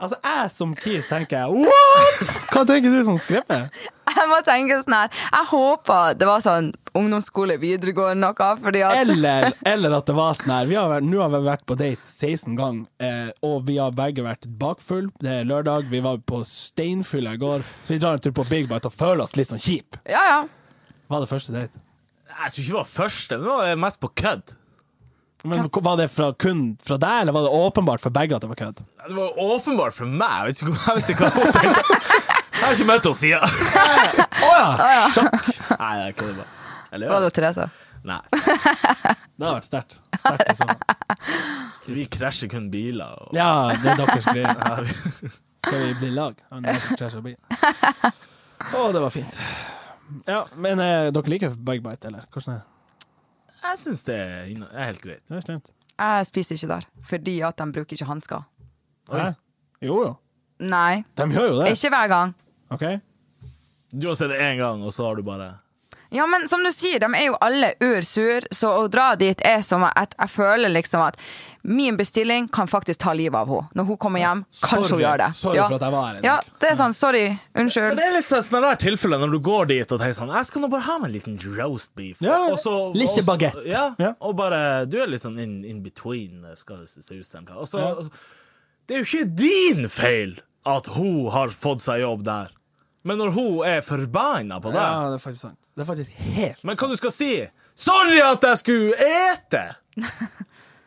S2: Altså, jeg som kis tenker jeg, what?! Hva tenker du som skrevet?
S3: Jeg må tenke sånn her Jeg håper det var sånn ungdomsskole, videregående noe, fordi at
S2: Eller, eller at det var sånn her vi har vært, Nå har vi vært på date 16 ganger, eh, og vi har begge vært bakfull. Det er lørdag, vi var på steinfylla i går, så vi drar en tur på Big Bite og føler oss litt sånn kjip.
S3: Ja, ja.
S2: Var det første date?
S1: Jeg tror ikke det var første, men det var mest på kødd.
S2: Men Var det fra, kun fra deg, eller var det åpenbart for begge at det var kødd?
S1: Det var jo åpenbart for meg. Jeg vet ikke, hva- jeg vet ikke hva hun tenkte. Jeg har ikke møtt henne siden.
S2: Å ja! Sjokk!
S1: Nei, jeg kødder bare. Eller gjør
S3: Var det
S1: jeg?
S3: Therese?
S1: Nei.
S2: Det har vært sterkt. Sterkt, altså.
S1: Vi krasjer kun biler. Og...
S2: Ja, det er deres greie.
S1: Ja, vi-
S2: Skal vi bli lag? Å, det var fint. Ja, men eh, dere liker Bug Bite, eller? Hvordan er det?
S1: Jeg syns det er inno- er helt greit.
S2: Det er slemt.
S3: Jeg spiser ikke der, fordi at de bruker ikke hansker.
S2: Hæ? Jo, jo.
S3: Nei,
S2: De gjør jo det.
S3: ikke hver gang.
S2: OK?
S1: Du har sett det én gang, og så har du bare
S3: Ja, men som du sier, de er jo alle ursur, så å dra dit er som at jeg føler liksom at min bestilling kan faktisk ta livet av henne. Når hun kommer hjem, kanskje hun
S2: Sorry.
S3: gjør det.
S2: Sorry
S3: ja.
S2: for at jeg var her i dag.
S3: Ja, det er sånn, sorry, unnskyld.
S1: Men Det er litt sånn sånn der tilfelle når du går dit og tenker sånn Jeg skal nå bare ha meg en liten roast beef.
S2: Ja,
S1: og så-
S2: litt
S1: og så-
S2: baguette.
S1: Ja,
S2: Ja.
S1: Og bare Du er litt sånn in, in between, skal det se ut som. Og så og så- Det er jo ikke din feil at hun har fått seg jobb der. Men når hun er forbanna på deg
S2: Ja, det er faktisk sant. Det er faktisk helt
S1: Men hva du skal si? Sorry at jeg skulle ete!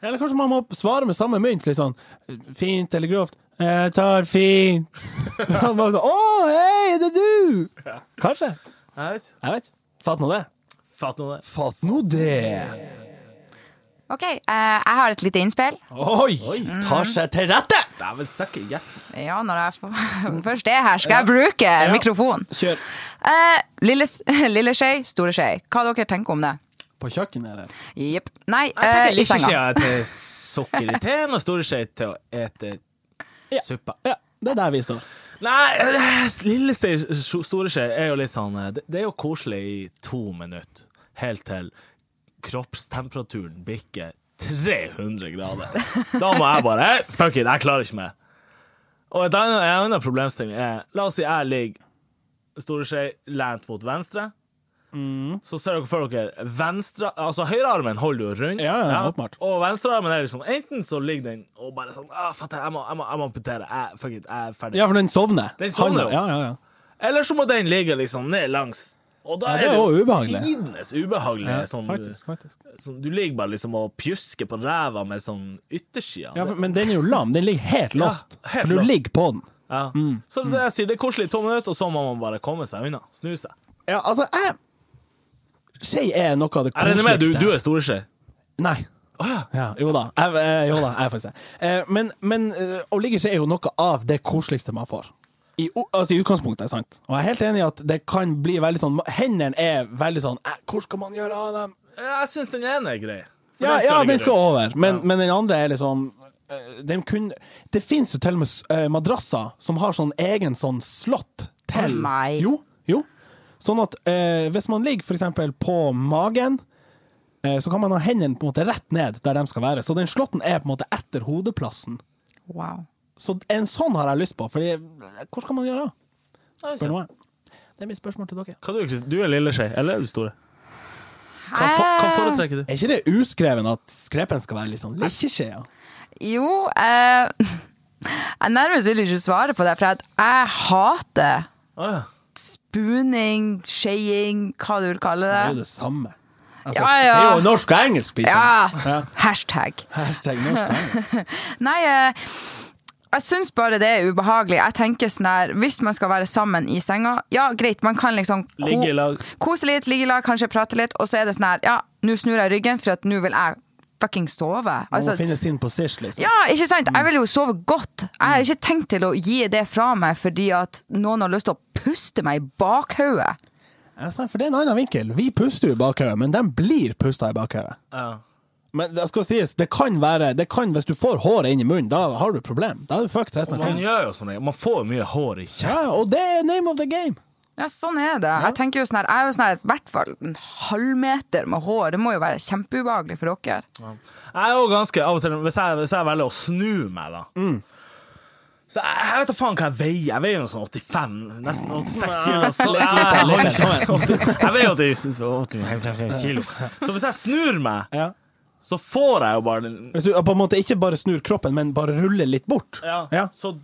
S2: Eller kanskje man må svare med samme mynt, litt sånn fint eller grovt. Jeg tar fint. Han bare sånn Å, hei, det er du! Kanskje.
S1: Jeg vet
S2: Jeg vet. Fatt nå det.
S1: Fatt nå det.
S2: Fatt nå det.
S3: OK, eh, jeg har et lite innspill.
S2: Oi! Tar seg til rette!
S1: Dæven søkke gjesten.
S3: Ja, når jeg f- først er her, skal jeg bruke mikrofon.
S2: Kjør.
S3: Eh, lille, s- lille skje, store skje. Hva dere tenker om det?
S2: På kjøkkenet, eller?
S3: Jepp. Nei,
S1: Jeg
S3: eh,
S1: tenker
S3: i
S1: lille
S3: senga.
S1: skjea til sukker i teen og store skje til å ete suppa.
S2: Ja, det er der vi står.
S1: Nei, eh, lille ste store skje er jo litt sånn eh, Det det er jo koselig i to minutter, helt til kroppstemperaturen bikker 300 grader. Da må jeg bare eh, Fuck it, jeg klarer ikke mer. Og et annet, en annen problemstilling er La oss si jeg ligger store skje lent mot venstre.
S2: Mm.
S1: Så ser dere for dere venstre Altså høyrearmen holder jo rundt.
S2: Ja, ja, åpenbart.
S1: Og venstrearmen er liksom Enten så ligger den og bare sånn ah, fatter, jeg, må, jeg, må, jeg må amputere. Jeg, fuck it, jeg er ferdig.
S2: Ja, for den sovner.
S1: Den sovner jo.
S2: ja, ja, ja.
S1: Eller så må den ligge liksom ned langs. Og da
S2: Ja, det
S1: er
S2: er
S1: det
S2: jo
S1: jo
S2: ubehagelig.
S1: tidenes ubehagelige.
S2: ja
S1: sånn,
S2: faktisk, faktisk.
S1: sånn, du ligger bare liksom og pjusker på ræva med sånn yttersida.
S2: Ja, for, men den er jo lam. Den ligger helt lost.
S1: helt
S2: for du
S1: lost.
S2: ligger på den.
S1: Ja.
S2: Mm.
S1: Så det er det jeg sier, det er koselig i to minutter, og så må man bare komme seg unna. Snu seg.
S2: Ja, altså, jeg Skje er noe av det
S1: Jeg regner
S2: koseligste.
S1: med du, du er storeskje.
S2: Nei. ja. Jo da. Jeg, eh, jo da, jeg er faktisk det. Eh, Men, men eh, å ligge i skje er jo noe av det koseligste man får. I, o- altså, I utgangspunktet, sant. Og jeg er helt enig i at det kan bli veldig sånn Hendene er veldig sånn eh, Hvor skal man gjøre av dem?
S1: Jeg syns den ene er grei. For
S2: Ja, ja,
S1: ligge
S2: den skal
S1: rundt.
S2: over, men, men den andre er liksom eh, den kun, Det fins jo til og med s- eh, madrasser som har sånn egen sånn slott til.
S3: Å, nei.
S2: Jo, jo. Sånn at eh, hvis man ligger for eksempel på magen, eh, så kan man ha hendene på en måte rett ned der de skal være. Så den slåtten er på en måte etter hodeplassen.
S3: Wow. for
S2: Så en sånn har jeg lyst på, Fordi, eh, hvor skal man gjøre av?
S1: Ja, det er
S2: Spør
S1: sant.
S2: noe. Det er mitt spørsmål til dere.
S1: Hva er du, Kristin? Du er lilleskje, eller er du store? Hva, fo- hva foretrekker du?
S2: Er ikke det uskreven at skrepen skal være litt sånn likkjeskjea?
S3: Jo, eh, jeg nærmest vil ikke svare på det, for at jeg hater
S1: Å ja.
S3: spooning, skjeing, hva du vil kalle
S2: Det er jo
S3: det.
S2: det samme. Altså,
S3: Ja, ja.
S2: Det er jo norsk og engelsk, liksom.
S3: Ja, hashtag.
S2: Hashtag norsk og engelsk.
S3: Nei, eh, jeg syns bare det er ubehagelig. Jeg tenker sånn her, Hvis man skal være sammen i senga, ja greit, man kan liksom ko-
S1: Ligge i lag.
S3: kose litt, ligge i lag, kanskje prate litt, og så er det sånn her, ja, nå snur jeg ryggen, for at nå vil jeg fucking sove.
S2: Man
S3: Altså,
S2: må finne sin position, liksom.
S3: ja, ikke sant? Jeg vil jo sove godt. Jeg har ikke tenkt til å gi det fra meg fordi at noen har lyst til å puste meg i bakhodet.
S2: Jeg sa, For det er en annen vinkel. Vi puster jo i bakhodet, men de blir pusta i bakhodet.
S1: ja.
S2: Men det skal sies, det kan være det kan, Hvis du får håret inn i munnen, da har du et problem. Da er du fucked resten av
S1: Man
S2: tiden.
S1: gjør jo sånn, man får jo mye hår i kjeften.
S2: Ja, og det er name of the game.
S3: Ja, sånn er det. Jeg tenker jo sånn her, jeg er jo sånn her, i hvert fall en halvmeter med hår. Det må jo være kjempeubehagelig for dere.
S1: Jeg er jo ganske av og til Hvis jeg, hvis jeg velger å snu meg, da
S2: Mm.
S1: Så jeg, jeg vet da faen hva jeg veier. Jeg veier jo sånn 85, nesten 86 kilo. Så jeg, jeg, holder ikke med. jeg veier 80 så 85 kilo. Så hvis jeg snur meg,
S2: Ja.
S1: så får jeg jo bare den
S2: Hvis du på en måte ikke bare snur kroppen, men bare ruller litt bort.
S1: ja.
S2: Ja,
S1: Så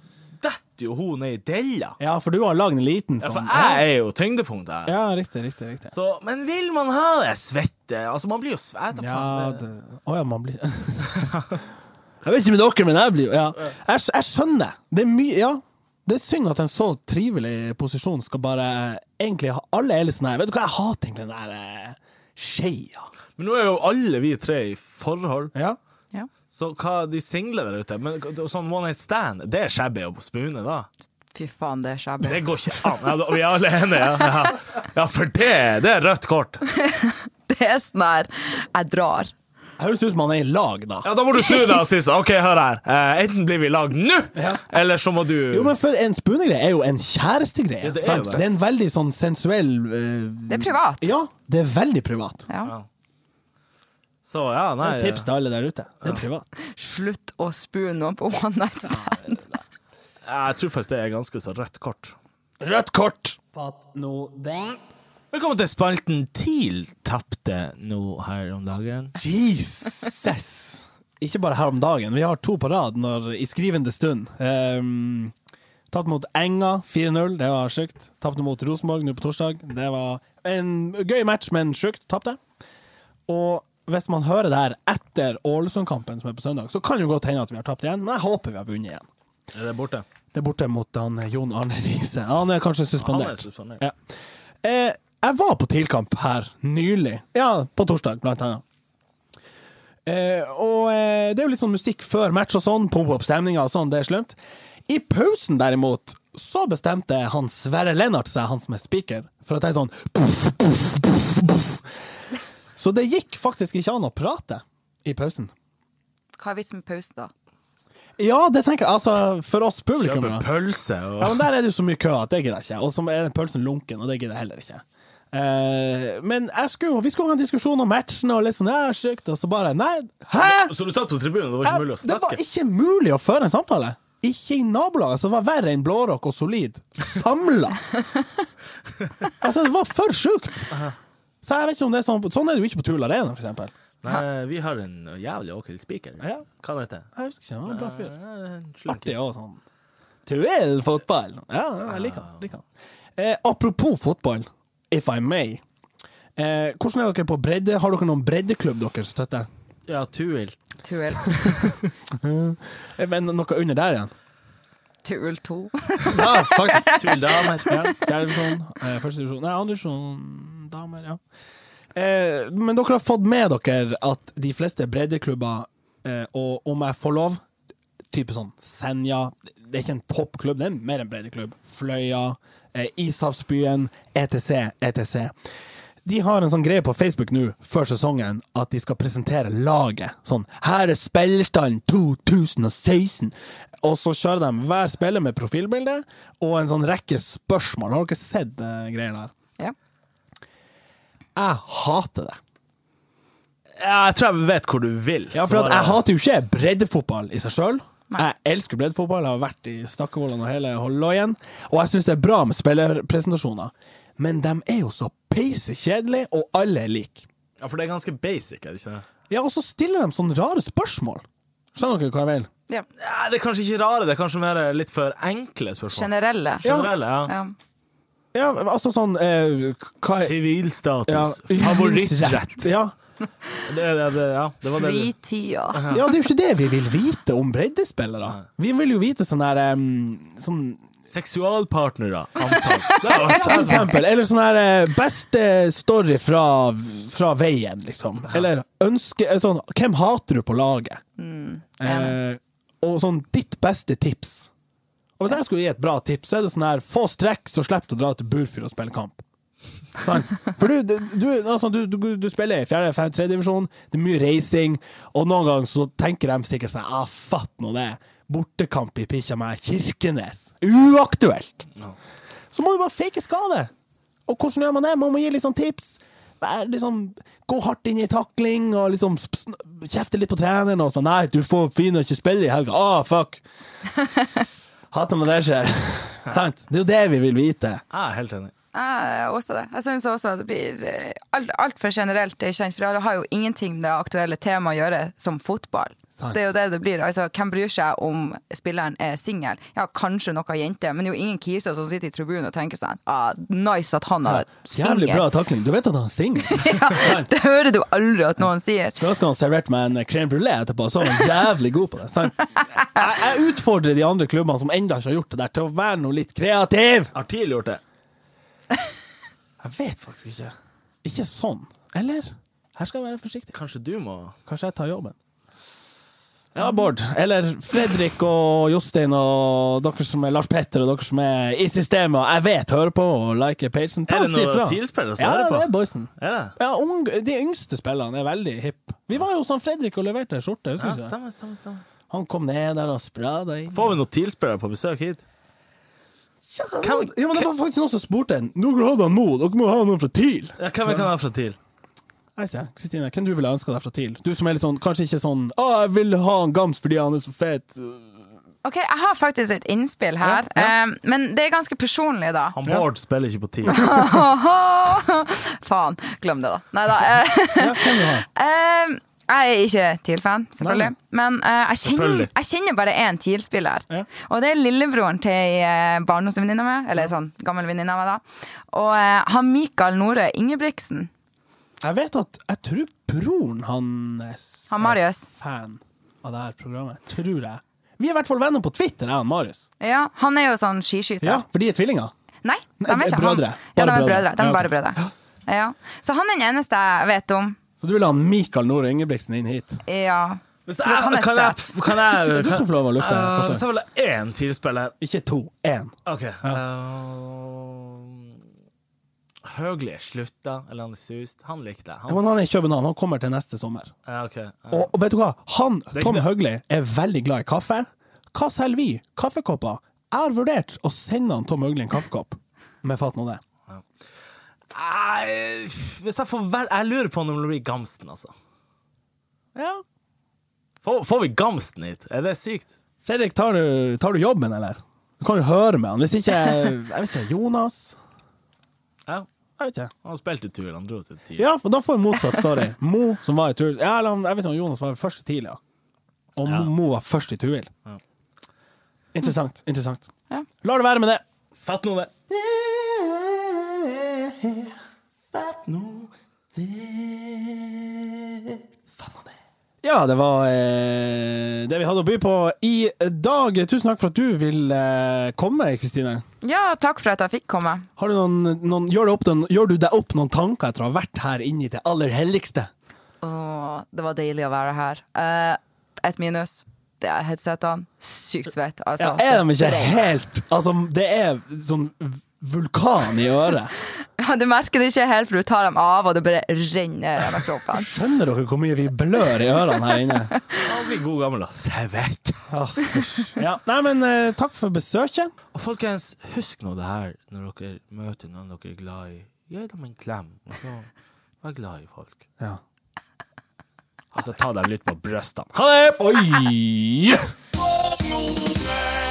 S1: detter jo hun ned i della.
S2: Ja, for du har lagd en liten
S1: Ja,
S2: sånn.
S1: for jeg er jo tyngdepunktet her.
S2: Ja, riktig, riktig. riktig.
S1: Så, men vil man ha det svette? Altså, man blir jo svett.
S2: Ja, det... Å ja, man blir Jeg vet ikke med dere, men jeg blir jo ja. jeg, jeg skjønner. Det er mye Ja. Det er synd at en så trivelig posisjon skal bare Egentlig ha alle er litt sånn her Vet du hva, jeg hater egentlig den der eh, skeia.
S1: Men nå er jo alle vi tre i forhold.
S2: Ja.
S3: Ja.
S1: Så hva de single der ute Men k- sånn one night stand, det er shabby å spune da.
S3: Fy faen, det er shabby.
S1: Det går ikke an. Ja, da- vi er alle enige. Ja, ja. ja for det, det er rødt kort.
S3: Det er sånn her, jeg drar.
S2: Det høres ut som man er i lag, da.
S1: Ja, Da må du snu deg og si sånn. OK, hør her. Eh, enten blir vi i lag nå, eller så må du
S2: Jo, men for En spunegreie er jo en kjærestegreie.
S1: Ja, det er
S2: sant?
S1: jo det.
S2: det er en veldig sånn sensuell eh,
S3: Det er privat.
S2: Ja, det er veldig privat.
S3: Ja.
S1: Så ja, nei.
S2: Tips til alle der ute. Det er privat.
S3: Slutt å spue noen på one night stand.
S1: Jeg tror faktisk det er ganske så rødt kort.
S2: Rødt kort! Fatt nå det.
S1: Velkommen til spalten TIL tapte nå her om dagen.
S2: Jesus! Ikke bare her om dagen. Vi har to på rad når, i skrivende stund. Um, tapt mot Enga 4-0, det var sjukt. Tapte mot Rosenborg nå på torsdag. Det var en gøy match, men sjukt. Tapte. Og hvis man hører det her etter Ålesund-kampen som er på søndag, så kan det jo godt hende at vi har tapt igjen, men jeg håper vi har vunnet igjen.
S1: Er det borte?
S2: Det er borte mot han Jon Arne Riise. Han er kanskje
S1: Han er
S2: suspendert.
S1: suspendert.
S2: Ja. Eh, jeg var på TIL-kamp her nylig. Ja, på torsdag, blant annet. Eh, og eh, det er jo litt sånn musikk før match og sånn, pumpe opp stemninga og sånn, det er slemt. I pausen, derimot, så bestemte han Sverre Lennart seg, han som er speaker, for å tenke sånn puff, puff, puff, puff. Så det gikk faktisk ikke an å prate i pausen.
S3: Hva er vitsen med pause, da?
S2: Ja, det tenker jeg, altså, for oss
S1: Kjøper
S2: publikummere.
S1: pølse og
S2: Ja, men der er det jo så mye kø at det gidder jeg ikke. Og så er den pølsen lunken, og det gidder jeg heller ikke. Eh, men jeg skulle, vi skulle ha en diskusjon om matchen, og litt sånn, ja, sjukt, og så bare Nei! Hæ?!
S1: Så du satt på tribunen, det var ikke mulig å
S2: det var
S1: snakke?
S2: ikke mulig å føre en samtale! Ikke i nabolaget, som var verre enn blårock og solid, samla! altså, det var for sjukt! Så jeg vet ikke om det er sånn Sånn er det jo ikke på Tul Arena, for eksempel.
S1: Nei, vi har en jævlig ok speaker.
S2: Ja.
S1: Hva heter det?
S2: Jeg husker ikke, han var en bra fyr.
S1: Eh,
S2: Artig og sånn. Tuell fotball! Ja, ja, jeg liker han. Liker han. Eh, apropos fotball, if I may. Eh, hvordan er dere på bredde? Har dere noen breddeklubb dere støtter?
S1: Ja, Tuil.
S3: Tuel.
S2: Eh, Men noe under der igjen?
S3: Tuel 2.
S2: Ja, faktisk.
S1: Tuil damer.
S2: Ja, Fjerde divisjon, eh, første divisjon, nei, andre divisjon, damer, ja. Eh, men dere har fått med dere at de fleste breddeklubber, eh, og om jeg får lov, type sånn Senja Det er ikke en toppklubb, det er mer en breddeklubb. Fløya, eh, Ishavsbyen, E etc., etc. De har en sånn greie på Facebook nå før sesongen at de skal presentere laget. Sånn 'Her er spillerstanden 2016'. Og så kjører de hver spiller med profilbilde og en sånn rekke spørsmål. Har dere sett eh, greier der?
S3: Ja.
S2: Jeg hater det.
S1: Jeg tror jeg vet hvor du vil.
S2: Ja, for
S1: så-
S2: at jeg hater jo ikke breddefotball i seg sjøl.
S3: Nei.
S2: Jeg elsker breddefotball, jeg har vært i Stakkevollan og hele Holloien. Og jeg syns det er bra med spillerpresentasjoner, men de er jo så peisekjedelige, og alle er like.
S1: Ja, for det er ganske basic, er det ikke det?
S2: Ja, og så stiller de sånne rare spørsmål. Skjønner dere hva jeg vil?
S3: ja.
S1: Ja, det er kanskje ikke rare, det er kanskje mer litt for enkle spørsmål.
S3: Generelle.
S1: Generelle, ja.
S3: Ja.
S2: Ja, altså sånn eh, hva er- ja,
S1: Sivilstatus. Favorittrett.
S2: Ja.
S1: Det, det, det, ja, det var det. du-
S3: Fritida.
S2: ja, det er jo ikke det vi vil vite om breddespillere. Vi vil jo vite sånn der em, sånn,
S1: Seksualpartnere, antall. Det har vært
S2: For eksempel. Eller sånn her eh, Beste story fra, fra veien, liksom. Eller ønske eh, sånn, Hvem hater du på laget? Eh, og sånn ditt beste tips. Og hvis jeg skulle gi et bra tips, så er det sånn her Få strekk, så slipper du å dra til Burfjord og spille kamp. Sant? For du, du, altså, du, du, du spiller i fjerde, femte, tredje divisjon, det er mye racing, og noen ganger så tenker de sikkert sånn ah, fatt nå det. Bortekamp i bikkja meg, Kirkenes. Uaktuelt! Så må du bare fake skade. Og hvordan gjør man det? Man må gi litt sånn tips. Vær liksom, gå hardt inn i takling og liksom sp- sn- kjefte litt på treneren. Og sånn, 'Nei, du får fine å ikke spille i helga.' Ah, fuck! Hater når det skjer. Sant? Det er jo det vi vil vite.
S1: Jeg er helt enig.
S3: Jeg er også det. Jeg syns også at det blir eh, alt- altfor generelt. Det er kjent, for det har jo ingenting med det aktuelle temaet å gjøre, som fotball.
S2: Sant.
S3: Det er jo det det blir. Altså, hvem bryr seg om spilleren er singel? Ja, kanskje noen jenter, men det er jo ingen kiser som sitter i tribunen og tenker sånn ah, Nice at han har
S2: Jævlig bra
S3: singel.
S2: takling. Du vet at han synger?
S3: Ja, det hører du aldri at noen sier.
S2: Skulle ønske han serverte meg en crème brulé etterpå, så var han jævlig god på det. Sant? Jeg, jeg utfordrer de andre klubbene som ennå ikke har gjort det der, til å være noe litt kreativ.
S1: Har TIL gjort det?
S2: Jeg vet faktisk ikke. Ikke sånn. Eller? Her skal jeg være forsiktig.
S1: Kanskje du må
S2: Kanskje jeg tar jobben. Ja, Bård. Eller Fredrik og Jostein og dere som er Lars Petter og dere som er i systemet og jeg vet hører på og liker pagen. Ta
S1: Er det
S2: oss ifra.
S1: noen TIL-spillere som
S2: Ja,
S1: hører på?
S2: det er boysen.
S1: Er det?
S2: Ja, ung, de yngste spillene er veldig hipp. Vi var jo hos han Fredrik og leverte skjorte.
S1: Ja,
S2: husker du ikke det?
S1: stemmer, stemmer, stemmer.
S2: Han kom ned der og sprada inn.
S1: Får vi noen TIL-spillere på besøk hit?
S2: Ja, ja, men det var faktisk noen som spurte en. Dere hadde han Mo, dere må ha noen fra TIL.
S1: Ja, hvem vi kan ha fra TIL?
S2: Jeg ser. Kristine, hvem du ville ønska deg fra TIL? Du som er litt sånn, kanskje ikke sånn 'Å, jeg vil ha han Gams fordi han er så fet'.
S3: OK, jeg har faktisk et innspill her, eh, men det er ganske personlig, da.
S1: Han Bård spiller ikke på TIL.
S3: Faen. Glem det, da. Nei da. eh,
S2: Ja, hvem vil du ha?
S3: Eh, jeg er ikke TIL-fan, selvfølgelig.
S2: Nei.
S3: Men eh, jeg, kjenner,
S1: Selvfølgelig.
S3: jeg kjenner bare én TIL-spiller.
S2: Ja.
S3: Og det er lillebroren til ei eh, barndomsvenninne av meg. Eller sånn gammel venninne av meg, da. Og eh, han Mikael Nore Ingebrigtsen.
S2: Jeg vet at Jeg tror broren hans
S3: Han Marius.
S2: er fan av det her programmet. Tror jeg. Vi er i hvert fall venner på Twitter, jeg og han Marius.
S3: Ja, han er jo sånn skiskyter.
S2: Ja, For de er tvillinger.
S3: Nei, de
S2: Nei,
S3: er
S2: det er
S3: ikke
S2: brødre.
S3: han. Ja, de
S2: Bare
S3: er
S2: brødre.
S3: brødre. De
S2: Ja,
S3: er
S2: ok.
S3: bare brødre. Ja. Så han er den eneste jeg vet om.
S2: Så du vil ha Mikael Nore Ingebrigtsen inn hit?
S3: Ja.
S1: Men så,
S3: For at han er
S1: kan jeg,
S3: søt.
S1: kan jeg,
S2: Du
S1: kan,
S2: som får lov å lufte
S1: Eh,
S2: forslag.
S1: så vil jeg ha én TIL-spiller.
S2: Ikke to, én.
S1: OK. eh, Høgli slutta, eller han er sust. Han likte jeg.
S2: Ja, men
S1: Han,
S2: han er i København, han kommer til neste sommer.
S1: ja, ok, eh. ja.
S2: Og, og vet du hva? Han,
S1: er ikke
S2: Tom
S1: det.
S2: Høgli, er veldig glad i kaffe. Hva selger vi? Kaffekopper? Jeg har vurdert å sende han Tom Høgli en kaffekopp, men fatt nå det.
S1: Nei, hvis jeg får vel Jeg lurer på om det blir Gamsten, altså.
S2: Ja.
S1: Får, får vi Gamsten hit? Er det sykt?
S2: Fredrik, tar du, tar du jobben, eller? Du kan jo høre med han. Hvis ikke Jeg vet ikke. Jonas?
S1: Ja.
S2: Jeg vet ikke.
S1: Han spilte tur, han dro til TIL.
S2: Ja, for da får vi motsatt story. Mo som var i Tuil ja, eller han- Jeg vet ikke om Jonas var først i TIL, ja. Og Mo-
S1: Ja.
S2: Mo var først i Tuil. Interessant. Interessant.
S3: Ja.
S2: La det være med det.
S1: Fett nå, det.
S2: Ja, det var eh, det vi hadde å by på i dag. Tusen takk for at du vil eh, komme, Kristine.
S3: ja, takk for at jeg fikk komme.
S2: Har du noen, noen, gjør, du opp den, gjør du deg opp noen tanker etter å ha vært her inne i det aller helligste?
S3: Åh, det var deilig å være her. Eh, et minus. Det er headsetene. Sykt svett, altså.
S2: Ja, er de ikke helt Altså, det er sånn vulkan i øret.
S3: Ja, du merker det ikke helt, for du tar dem av, og det bare renner gjennom kroppen.
S2: Skjønner dere hvor mye vi blør i ørene her inne?
S1: Han blir god gammel, da. Servert.
S2: Åh, fysj. ja. Nei, men eh, takk for besøket.
S1: Og folkens, husk nå det her når dere møter noen dere er glad i. Gi dem en klem, og så vær glad i folk.
S2: Ja.
S1: Altså, Og så ta dem litt på brystene. Ha det!
S2: Oi!
S4: Nordnes!